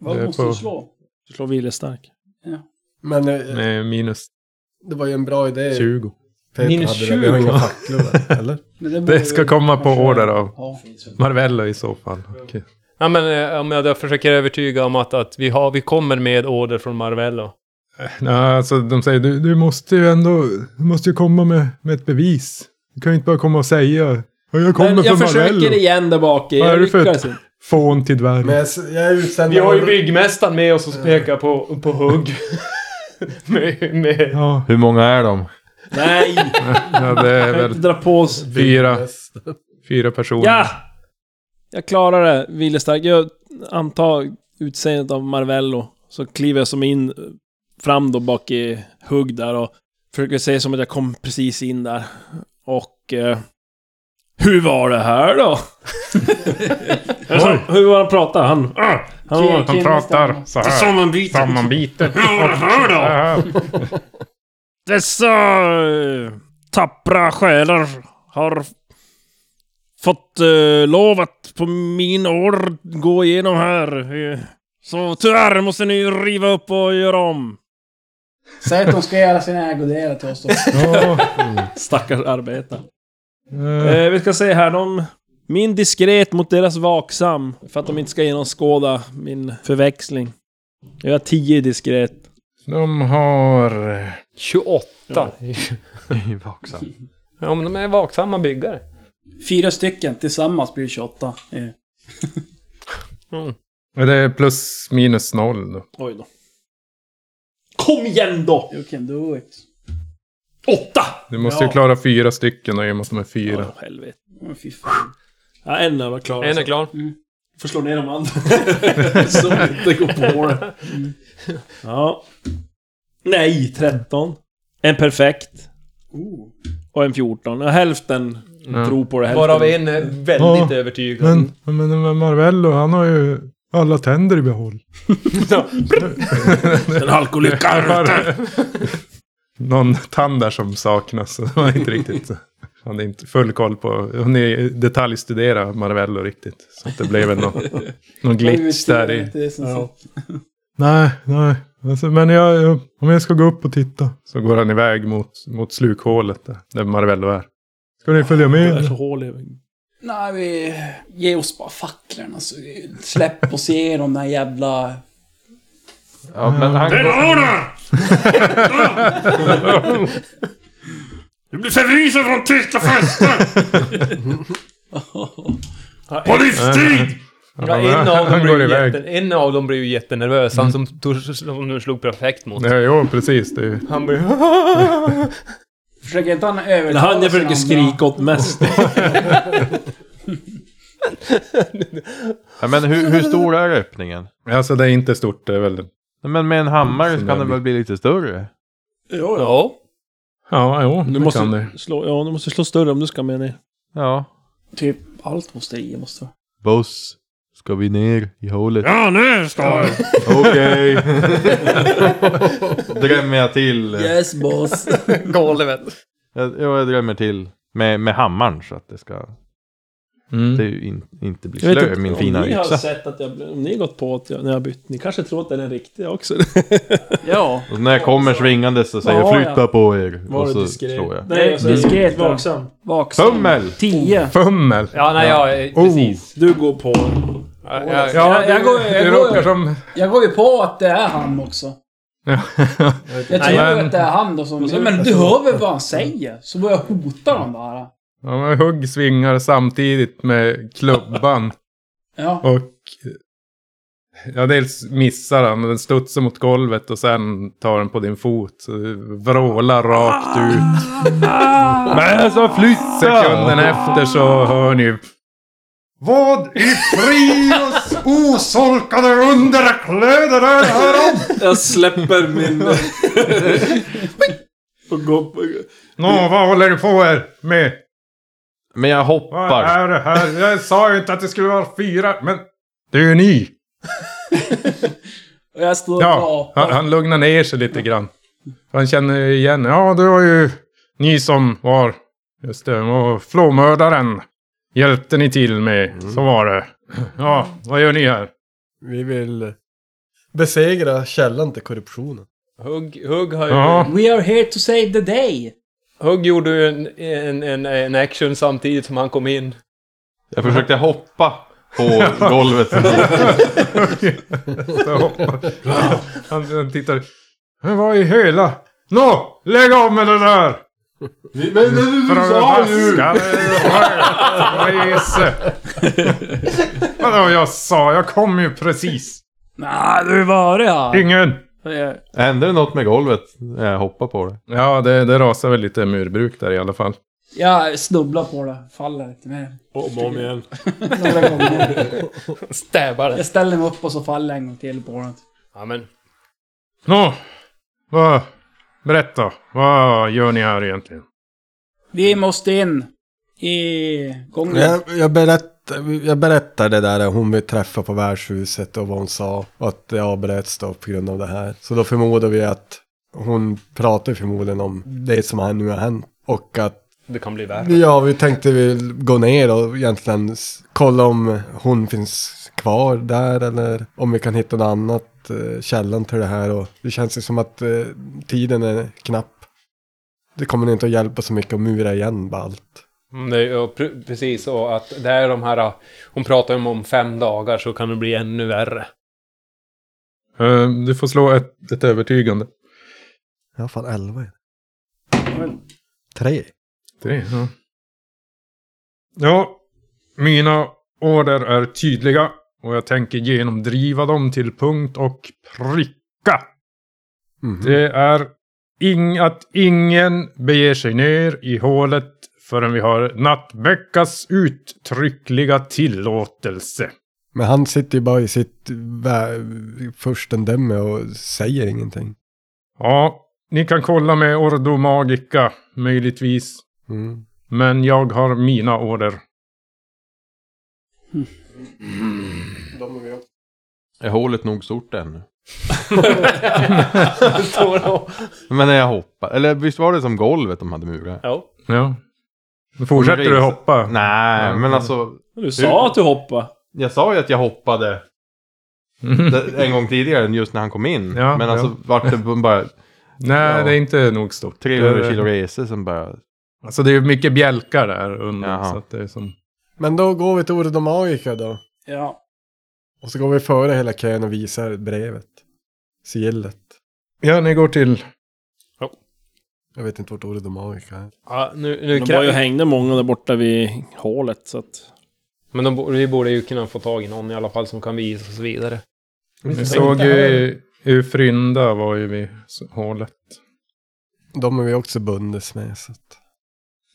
C: Vad
B: är
C: måste
B: på-
C: du slå?
E: Du slår viljestark.
D: Men eh,
B: med minus
D: det var ju en bra
E: Eh,
D: idé.
B: 20.
D: Peter
F: Minus
D: hade det. Vi har
F: 20.
D: inga facklor där, eller?
C: Men det, borde
B: Det ska
C: vi
B: komma på
C: Eh, kanske-
B: order av
C: Ja.
B: Marvello i så fall. Okej.
F: Ja, men eh, om jag då försöker övertyga om att, att vi, har, vi kommer med order från Marvello.
B: Ja, alltså de säger du, du måste ju ändå, du måste ju komma med, med ett bevis. Du kan ju inte bara komma och säga, "Ja, jag kommer
E: Men jag
B: från
E: försöker
B: Marvello.
E: igen där bak. i.
B: Vad är
E: Jag
B: det för-
E: lyckas inte.
B: Fån till dvärg.
D: Men jag, s- jag är utsänd
F: Vi har ju
D: av-
F: byggmästaren med oss och pekar på, på hugg. med, med.
B: Ja,
G: Hur många är de?
E: Nej!
B: ja, det är
E: Jag kan inte
B: väl
E: dra på oss.
B: fyra, fyra personer.
E: Ja! Jag klarar det, viljestark. Jag antar utseendet av Marvello. Så kliver jag som in eh, fram då bak i hugg där och försöker säga som att jag kom precis in där. Och... Eh, hur var det här då? Jag sa, hur var han pratade? Han... ah, han var,
B: Han pratar så här.
H: Sammanbitet.
B: Äh, Sammanbitet.
H: Ja, hör då.
B: Så här.
E: Dessa eh, tappra själar har fått eh, lov att på min år gå igenom här. Eh, Så tyvärr måste ni riva upp och göra om.
C: Säg att de ska göra sina ägodelar till oss då.
B: Ja,
E: Stackars arbetare.
B: eh,
E: Eh, vi ska se här, de... Min diskret mot deras vaksam. För att de inte ska genomskåda min förväxling. Jag har 10 i diskret.
B: De har...
F: 28. Ja.
G: Vaksam.
F: men de är vaksamma byggare.
C: Fyra stycken tillsammans blir det 28. Eh,
B: Det är plus minus noll då.
E: Oj då. Kom igen då!
C: You can do it.
E: Åtta!
B: Du måste ju klara fyra stycken och i och med att de är fyra.
E: Åh, helvete.
C: Åh, fy fan.
E: Ja, en är klar.
F: En är klar.
E: Får slå ner de andra. Som inte går på det. Mm. Ja. Nej, 13. En perfekt.
C: Oh.
E: Och en 14. Och hälften
B: Ja.
E: tror på det. Hälften.
F: Varav en är väldigt
B: Ja,
F: övertygad.
B: Men, men, men Marvello, han har ju alla tänder i behåll.
E: En alkoholikar.
B: Har någon tand där som saknas. så Han är inte riktigt... Han är inte full koll på... Hon är detaljstudera Marvello riktigt. Så att det blev väl någon, någon glitch där i...
C: Det är som sagt.
B: Nej, nej. Alltså, men jag, jag- om jag ska gå upp och titta. Så går han iväg mot, mot slukhålet där, där Marvello är. Ska ni följa
E: Det
B: med?
E: är
B: eller?
E: så hål i-
C: Nej, vi... Ge oss bara facklorna så släpp oss igenom den här jävla...
G: Ja, men han...
H: Pelarna! Du blir förvisad från tysta festen! På livstid!
F: Ja, en, av dem
B: han
F: blir
B: går
F: ju
B: iväg.
F: jätten, en av dem blir ju jättenervös. Han som, tog, som du slog perfekt mot.
B: Ja, jo, precis. Det är ju...
F: Han blir...
C: Försöker inte han
E: Men
C: övertala
E: han jag försöker
C: sina andra?
E: skrika åt mest.
G: Ja, men hur, hur stor är öppningen?
B: Alltså det är inte stort, det är väl...
G: Nej, Men med en hammare så
B: Som
G: kan den
B: jag-
G: väl bli lite större?
F: ja.
B: Ja, jo,
E: Du
B: det kan det.
E: måste slå, ja, du måste slå större om du ska med ner.
G: Ja.
C: Typ allt måste i måste
G: Buss. Ska vi ner i hålet?
H: Ja, nu ska vi!
G: Okej. drömmer jag till.
C: Yes boss.
F: Golvet.
G: Jag, jag drömmer till. Med, med hammaren så att det ska...
B: Mm.
G: Det är ju in, inte blir
E: Jag vet
G: slö,
E: inte
G: min
E: om
G: fina
E: ni har
G: yxa.
E: sett att jag, om ni har gått på att jag, när jag har bytt. Ni kanske tror att den är riktig också.
C: ja.
G: Och när jag kommer
E: alltså,
G: svingandes så säger jag
C: Ja,
G: flytta på er.
E: Var
G: och
E: det
G: så
E: diskret?
G: slår jag.
E: Nej, alltså,
C: Diskret, ja.
E: Vaksam.
C: Vaksam.
G: Fummel!
C: Tio.
B: Fummel!
F: Ja, nej, ja, eh,
B: Oh.
F: precis.
E: Du går på.
F: Ja, ja, ja.
B: Ja,
C: Jag- jag
B: det-
C: går- jag
B: det
C: går-
B: råkar som...
C: Jag går ju på att det är han också. Jag tror
B: men-
C: att det är han då som... Ja, men du hör väl vad han säger? Så börjar jag hota dem bara.
B: Ja, men hugg svingar samtidigt med klubban.
C: Ja.
B: Och... Ja, dels missar han, men den studsar mot golvet och sen tar den på din fot. Så du vrålar rakt ut. Men alltså flytta! Sekunden efter så hör ni ju...
A: Vad i frios osolkade underkläder är det här om?
E: Jag släpper min... och går på...
B: Nå, vad håller ni på er med?
G: Men jag
B: Vad
G: hoppar.
B: är det här? Jag sa ju inte att det skulle vara fyra, men... Det är ju ni!
C: Och jag står och
B: Ja,
C: gapar.
B: han, han lugnar ner sig lite grann. För han känner ju igen, ja det var ju ni som var, just det, och flåmördaren hjälpte ni till med,
A: Mm.
B: så var det. Ja, vad gör ni här?
D: Vi vill eh, besegra källan till korruptionen.
F: Hugg, hugg, har ju,
B: Ja,
C: We are here to save the day.
F: hugg gjorde ju en, en, en, en action samtidigt som han kom in.
G: Jag försökte hoppa på golvet.
B: så hoppar han. Han tittar, "Men vad i hela? Nå, lägg av med det där!
A: Men du
B: Från
A: sa ju!
B: vaskare och rese. Vadå jag sa? Jag kom ju precis.
C: Nej, du var det här.
B: Ingen.
C: Eh,
G: Hände det något med golvet när jag hoppade på det?
B: Ja, det, det rasar väl lite murbruk där i alla fall.
C: Jag snubblar på det. Faller lite med.
I: Om och om igen.
C: Några gånger.
F: Stäbar
C: Jag ställer mig upp och så faller jag en gång till på det.
F: Ja, men
B: Nå, vad... Berätta, vad gör ni här egentligen?
C: Vi måste in i gången.
D: Jag, jag, berättar, jag berättar det där hon vi träffade på värdshuset och vad hon sa. Och att det avbröts då på grund av det här. Så då förmodar vi att hon pratar förmodligen om det som har- nu har hänt. Och att
F: det kan bli värre.
D: Ja, vi tänkte vi gå ner och egentligen s- kolla om hon finns kvar där eller om vi kan hitta något annat, eh, källan till det här och det känns ju som att eh, tiden är knapp. Det kommer inte att hjälpa så mycket att mura igen bara allt.
F: Mm, det, är ju pr- precis, och att det är de här... ah, Hon pratar om om fem dagar så kan det bli ännu värre.
B: Eh, du får slå ett, ett övertygande.
D: Jag har fan elva i det. Tre.
B: Det, ja. ja, mina order är tydliga och jag tänker genomdriva dem till punkt och pricka.
D: Mhm.
B: Det är ing att ingen beger sig ner i hålet förrän vi har Nattbäckas uttryckliga tillåtelse.
D: Men han sitter ju bara i sitt vä- furstendöme och säger ingenting.
B: Ja, ni kan kolla med Ordo Magica, möjligtvis.
D: Mm.
B: Men jag har mina order.
G: Är hålet nog stort ännu?
F: Står det och-
G: Men när jag hoppade, eller visst var det som golvet de hade murat?
F: ja.
B: Ja. Men Fortsätter du hoppa?
G: Nej, men alltså.
E: Du sa att du hoppade.
G: Jag sa ju att jag hoppade
B: Mm.
G: det- en gång tidigare än just när han kom in.
B: Ja,
G: men alltså
B: ja.
G: vart det bara
B: Nej,
G: Ja.
B: det är inte nog stort.
G: 300
B: Det-
G: kilo resa som bara...
B: Alltså det är mycket bjälkar där under.
G: Jaha.
B: Så att det är som...
D: Men då går vi till Ordo Magica då.
C: Ja.
D: Och så går vi före hela kön och visar brevet. Sigillet.
B: Ja, ni går till...
D: Jag vet inte vart ordet magica är.
F: Ja, nu, nu
E: De var ju
F: krä-
E: hängde många där borta vid hålet, så att...
F: men de, bo- vi borde ju kunna få tag i någon i alla fall som kan visa oss vidare.
B: Ni såg ju Ufrynda var ju vid hålet.
D: De är vi också bundes med. Så att...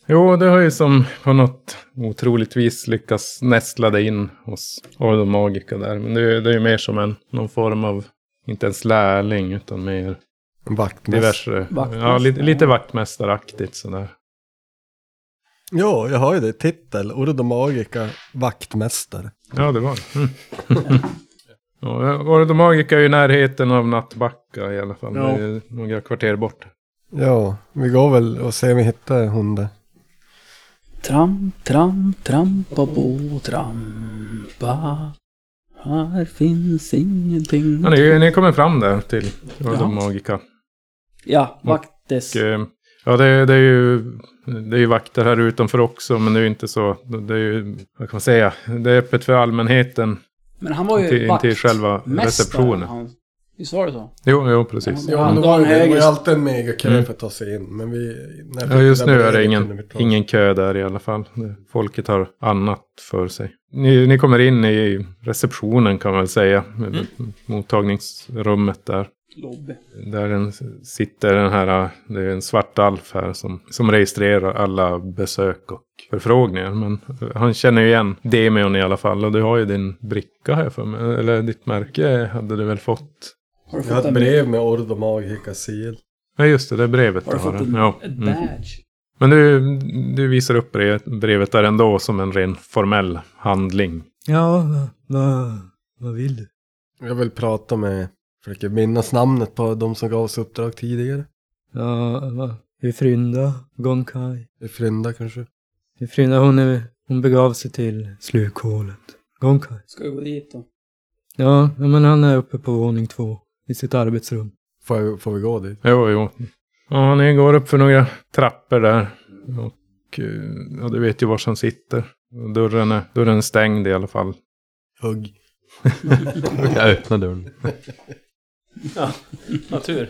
B: Jo, det har ju som på något otroligt vis lyckats nästla det in hos Ordo Magica där. Men det, är- det är ju mer som en, någon form av, inte ens lärling, utan mer
D: En vaktmästare.
B: diverse.
C: Vaktmästare.
B: Ja, lite, lite vaktmästaraktigt sådär.
D: Ja, jag har ju det. Titel. Ordo magica vaktmästare.
B: Ja, det var det. Mm. ja, Ordo Magica är ju i närheten av Nattbacka i alla fall.
C: Ja.
B: Det är ju några kvarter bort.
D: Ja, vi går väl och ser om vi hittar hon där.
C: Tramp, tramp, trampa på trampa. Här finns ingenting.
B: Ja, ni, ni kommer fram där till Ordo
C: Ja.
B: Magica.
C: Ja, vaktes.
B: Och, eh, Ja, det, det, är ju, det är ju vakter här utanför också, men det är ju inte så. Det är ju, vad kan man säga, det är öppet för allmänheten.
C: Men han var ju
B: Till-
C: vakt.
B: till själva
C: mästare,
B: receptionen.
C: han. Visst var det så?
B: Jo, jo precis.
C: Ja, men då
D: var
C: var
D: det
C: höger.
D: var ju alltid en megakö
B: Mm.
D: för att ta sig in. Men vi... när vi
B: Ja, just
D: fick
B: nu
D: det där
B: är det
D: brevet kunde
B: ingen,
D: vi ta oss.
B: ingen kö där i alla fall. Det- Folket har annat för sig. Ni, ni kommer in i receptionen kan man väl säga.
C: Mm.
B: eller Mottagningsrummet där.
C: Lobby.
B: Där den sitter den här, det är en svart alf här som, som registrerar alla besök och förfrågningar. Men eh, han känner ju igen Demion i alla fall. Och du har ju din bricka här för mig. Eller ditt märke hade du väl fått?
C: Har du
D: Jag har
C: fått
D: ett
C: en...
D: brev med Ordo magica sigil.
B: Ja just det, det är brevet
C: Har du fått
B: där.
C: en,
B: ja.
C: ett
B: mm.
C: badge?
B: Men du, du visar upp brevet, brevet där ändå som en ren formell handling.
J: Ja, vad, vad vill du?
D: Jag vill prata med Försöker minnas namnet på de som gav oss uppdrag tidigare.
I: Ja, va? Ifrynda Gonkai.
D: Frynda kanske.
I: Ifrynda hon, är, hon begav sig till slukhålet. Gonkai.
C: Ska vi gå dit då?
I: Ja, ja, men han är uppe på våning två. I sitt arbetsrum.
D: Får, jag, får vi gå dit?
B: Jo, jo. Ja, ni går upp för några trappor där. Och eh, ja, du vet ju var som sitter. Och Dörren är, dörren är stängd i alla fall.
D: Hugg.
G: Jag öppnar dörren.
E: Natur.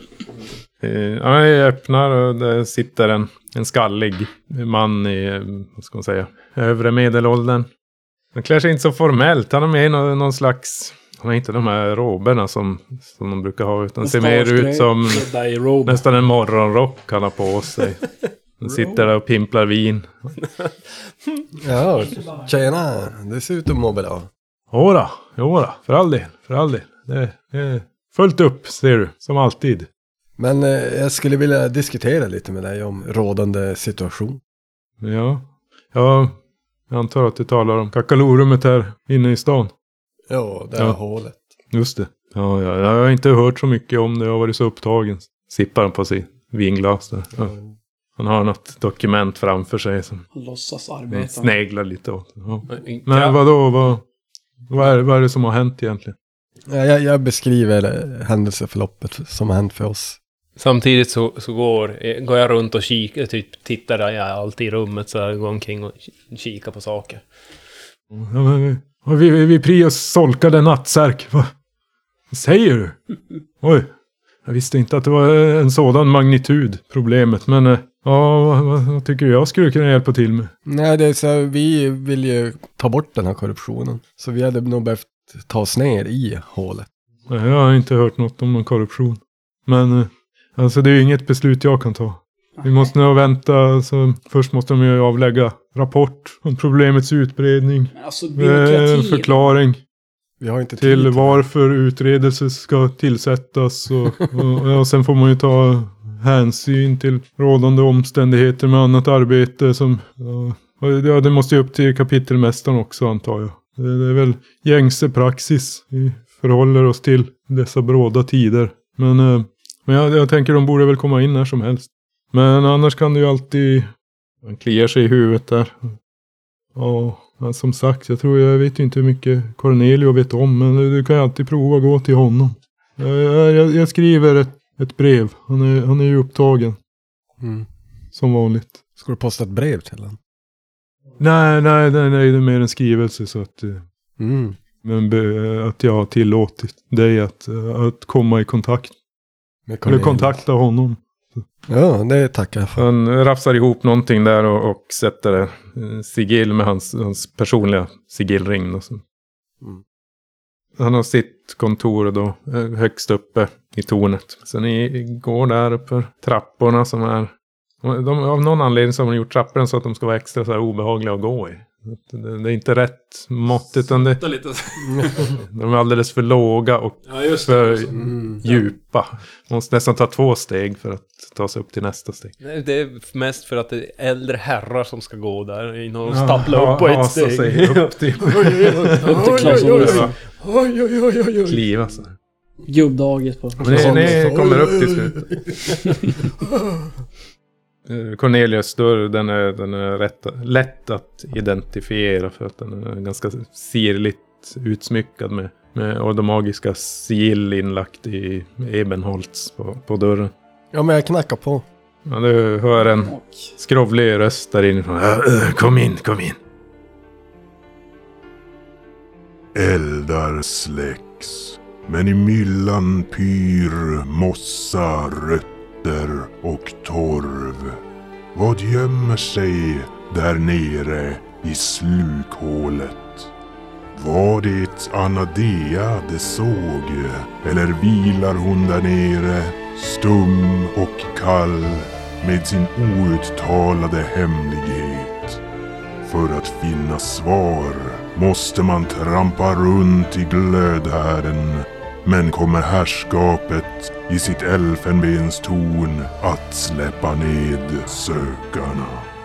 B: Eh, Ja, jag öppnar och där sitter en, en skallig man i, eh, vad ska man säga, övre medelåldern. Han klär sig inte så formellt. Han har med någon, någon slags, han har inte de här roberna som, som de brukar ha. Utan ser mer ut som
E: Jedi Robe.
B: nästan en morgonrock han har på sig. Han sitter där och pimplar vin.
D: Ja, tjena. Det ser ut att må bra.
B: Jodå, jodå, för all del, för all del. Det, det är fullt upp ser du, som alltid.
D: Men eh, jag skulle vilja diskutera lite med dig om rådande situation.
B: Ja, ja jag antar att du talar om kakalorumet här inne i stan.
D: Ja, det
B: här Ja.
D: hålet.
B: Just det. Ja, ja, jag har inte hört så mycket om det. Jag har varit så upptagen. Sippar han på sitt vinglas där. Ja. Han har något dokument framför sig som
C: Han låtsas
B: han
C: arbeta.
B: sneglar lite åt. Ja. Men vadå, vad, vad, är, vad är det som har hänt egentligen?
D: Ja, jag, jag beskriver eh, händelseförloppet som har hänt för oss.
F: Samtidigt så, så går, eh, går jag runt och kikar, typ tittar där jag är alltid i rummet så här, går omkring och ki- kikar på saker.
B: Ja, men, vi- ja, vi, vi, vi prios solkade nattsärk. Va? Vad säger du? Oj. Jag visste inte att det var eh, en sådan magnitud, problemet. Men eh, ja, vad, vad, vad tycker du jag skulle kunna hjälpa till med?
D: Nej, det är så här, vi vill ju ta bort den här korruptionen. Så vi hade nog behövt ta oss ner i hålet.
B: Nej, jag har inte hört något om någon korruption. Men eh, alltså det är ju inget beslut jag kan ta. Vi måste nog vänta, alltså, först måste de ju avlägga rapport om problemets utbredning.
C: Men alltså
B: Eh,
C: byråkrati.
B: förklaring
D: Vi har inte tid.
B: till varför utredelse ska tillsättas. Och, och, och sen får man ju ta hänsyn till rådande omständigheter med annat arbete som... ja, och det- Ja, det måste ju upp till kapitelmästaren också antar jag. Det det är väl gängse praxis vi förhåller oss till dessa bråda tider. Men, eh, men jag, jag tänker de borde väl komma in när som helst. Men annars kan du ju alltid... Han kliar sig i huvudet där. Ja, men som sagt, jag tror jag vet ju inte hur mycket Cornelio vet om, men du, du kan ju alltid prova att gå till honom. Jag, jag, jag- jag skriver ett, ett brev. Han är, han är ju upptagen,
D: Mm.
B: som vanligt.
D: Ska du posta ett brev till honom?
B: Nej, nej, nej, nej, det är mer en skrivelse så att... eh,
D: Mm.
B: Men be, att jag har tillåtit dig att, eh, att komma i kontakt,
D: Med
B: eller
D: Cornelius.
B: kontakta honom.
D: Ja, det tackar jag för.
B: Han rafsar ihop någonting där och, och sätter eh, sigill med hans, hans personliga sigillring. Och så.
D: Mm.
B: Han har sitt kontor då eh, högst uppe i tornet. Så ni går där uppe, trapporna som är... De, av någon anledning så har de gjort trapporna så att de ska vara extra så här obehagliga att gå i. Det, det är inte rätt mått utan det,
E: Lite.
B: de är alldeles för låga och
E: Ja, just det.
B: för
D: Mm.
B: djupa. Man måste nästan ta två steg för att ta sig upp till nästa steg.
F: Nej, Det är mest för att det är äldre herrar som ska gå där innan de
B: Ja,
F: stapplar upp på
B: ja,
F: ett
B: så
F: steg.
B: säger jag upp typ. till-
C: Upp till Klas Olsson.
F: Oj, oj, oj, oj, oj.
B: kliva så här.
C: Gubbdagis på.
B: alltså. Men ni, ni kommer upp till slut. Eh, Cornelius dörr, den är, den är rätt, lätt att identifiera för att den är ganska sirligt utsmyckad med, med och de magiska sigill inlagt i ebenholts på, på dörren.
D: Ja, men jag knackar på.
B: Ja, du hör en
C: Och
B: skrovlig röst där inifrån. "Äh, äh, Kom in, kom in.
A: Eldar släcks, men i myllan pyr mossa, rötter och torv. Vad gömmer sig där nere i slukhålet? Var det Anadea de såg? Eller vilar hon där nere, stum och kall med sin outtalade hemlighet? För att finna svar måste man trampa runt i glödhärden. Men kommer herrskapet i sitt elfenbenstorn att släppa ned sökarna?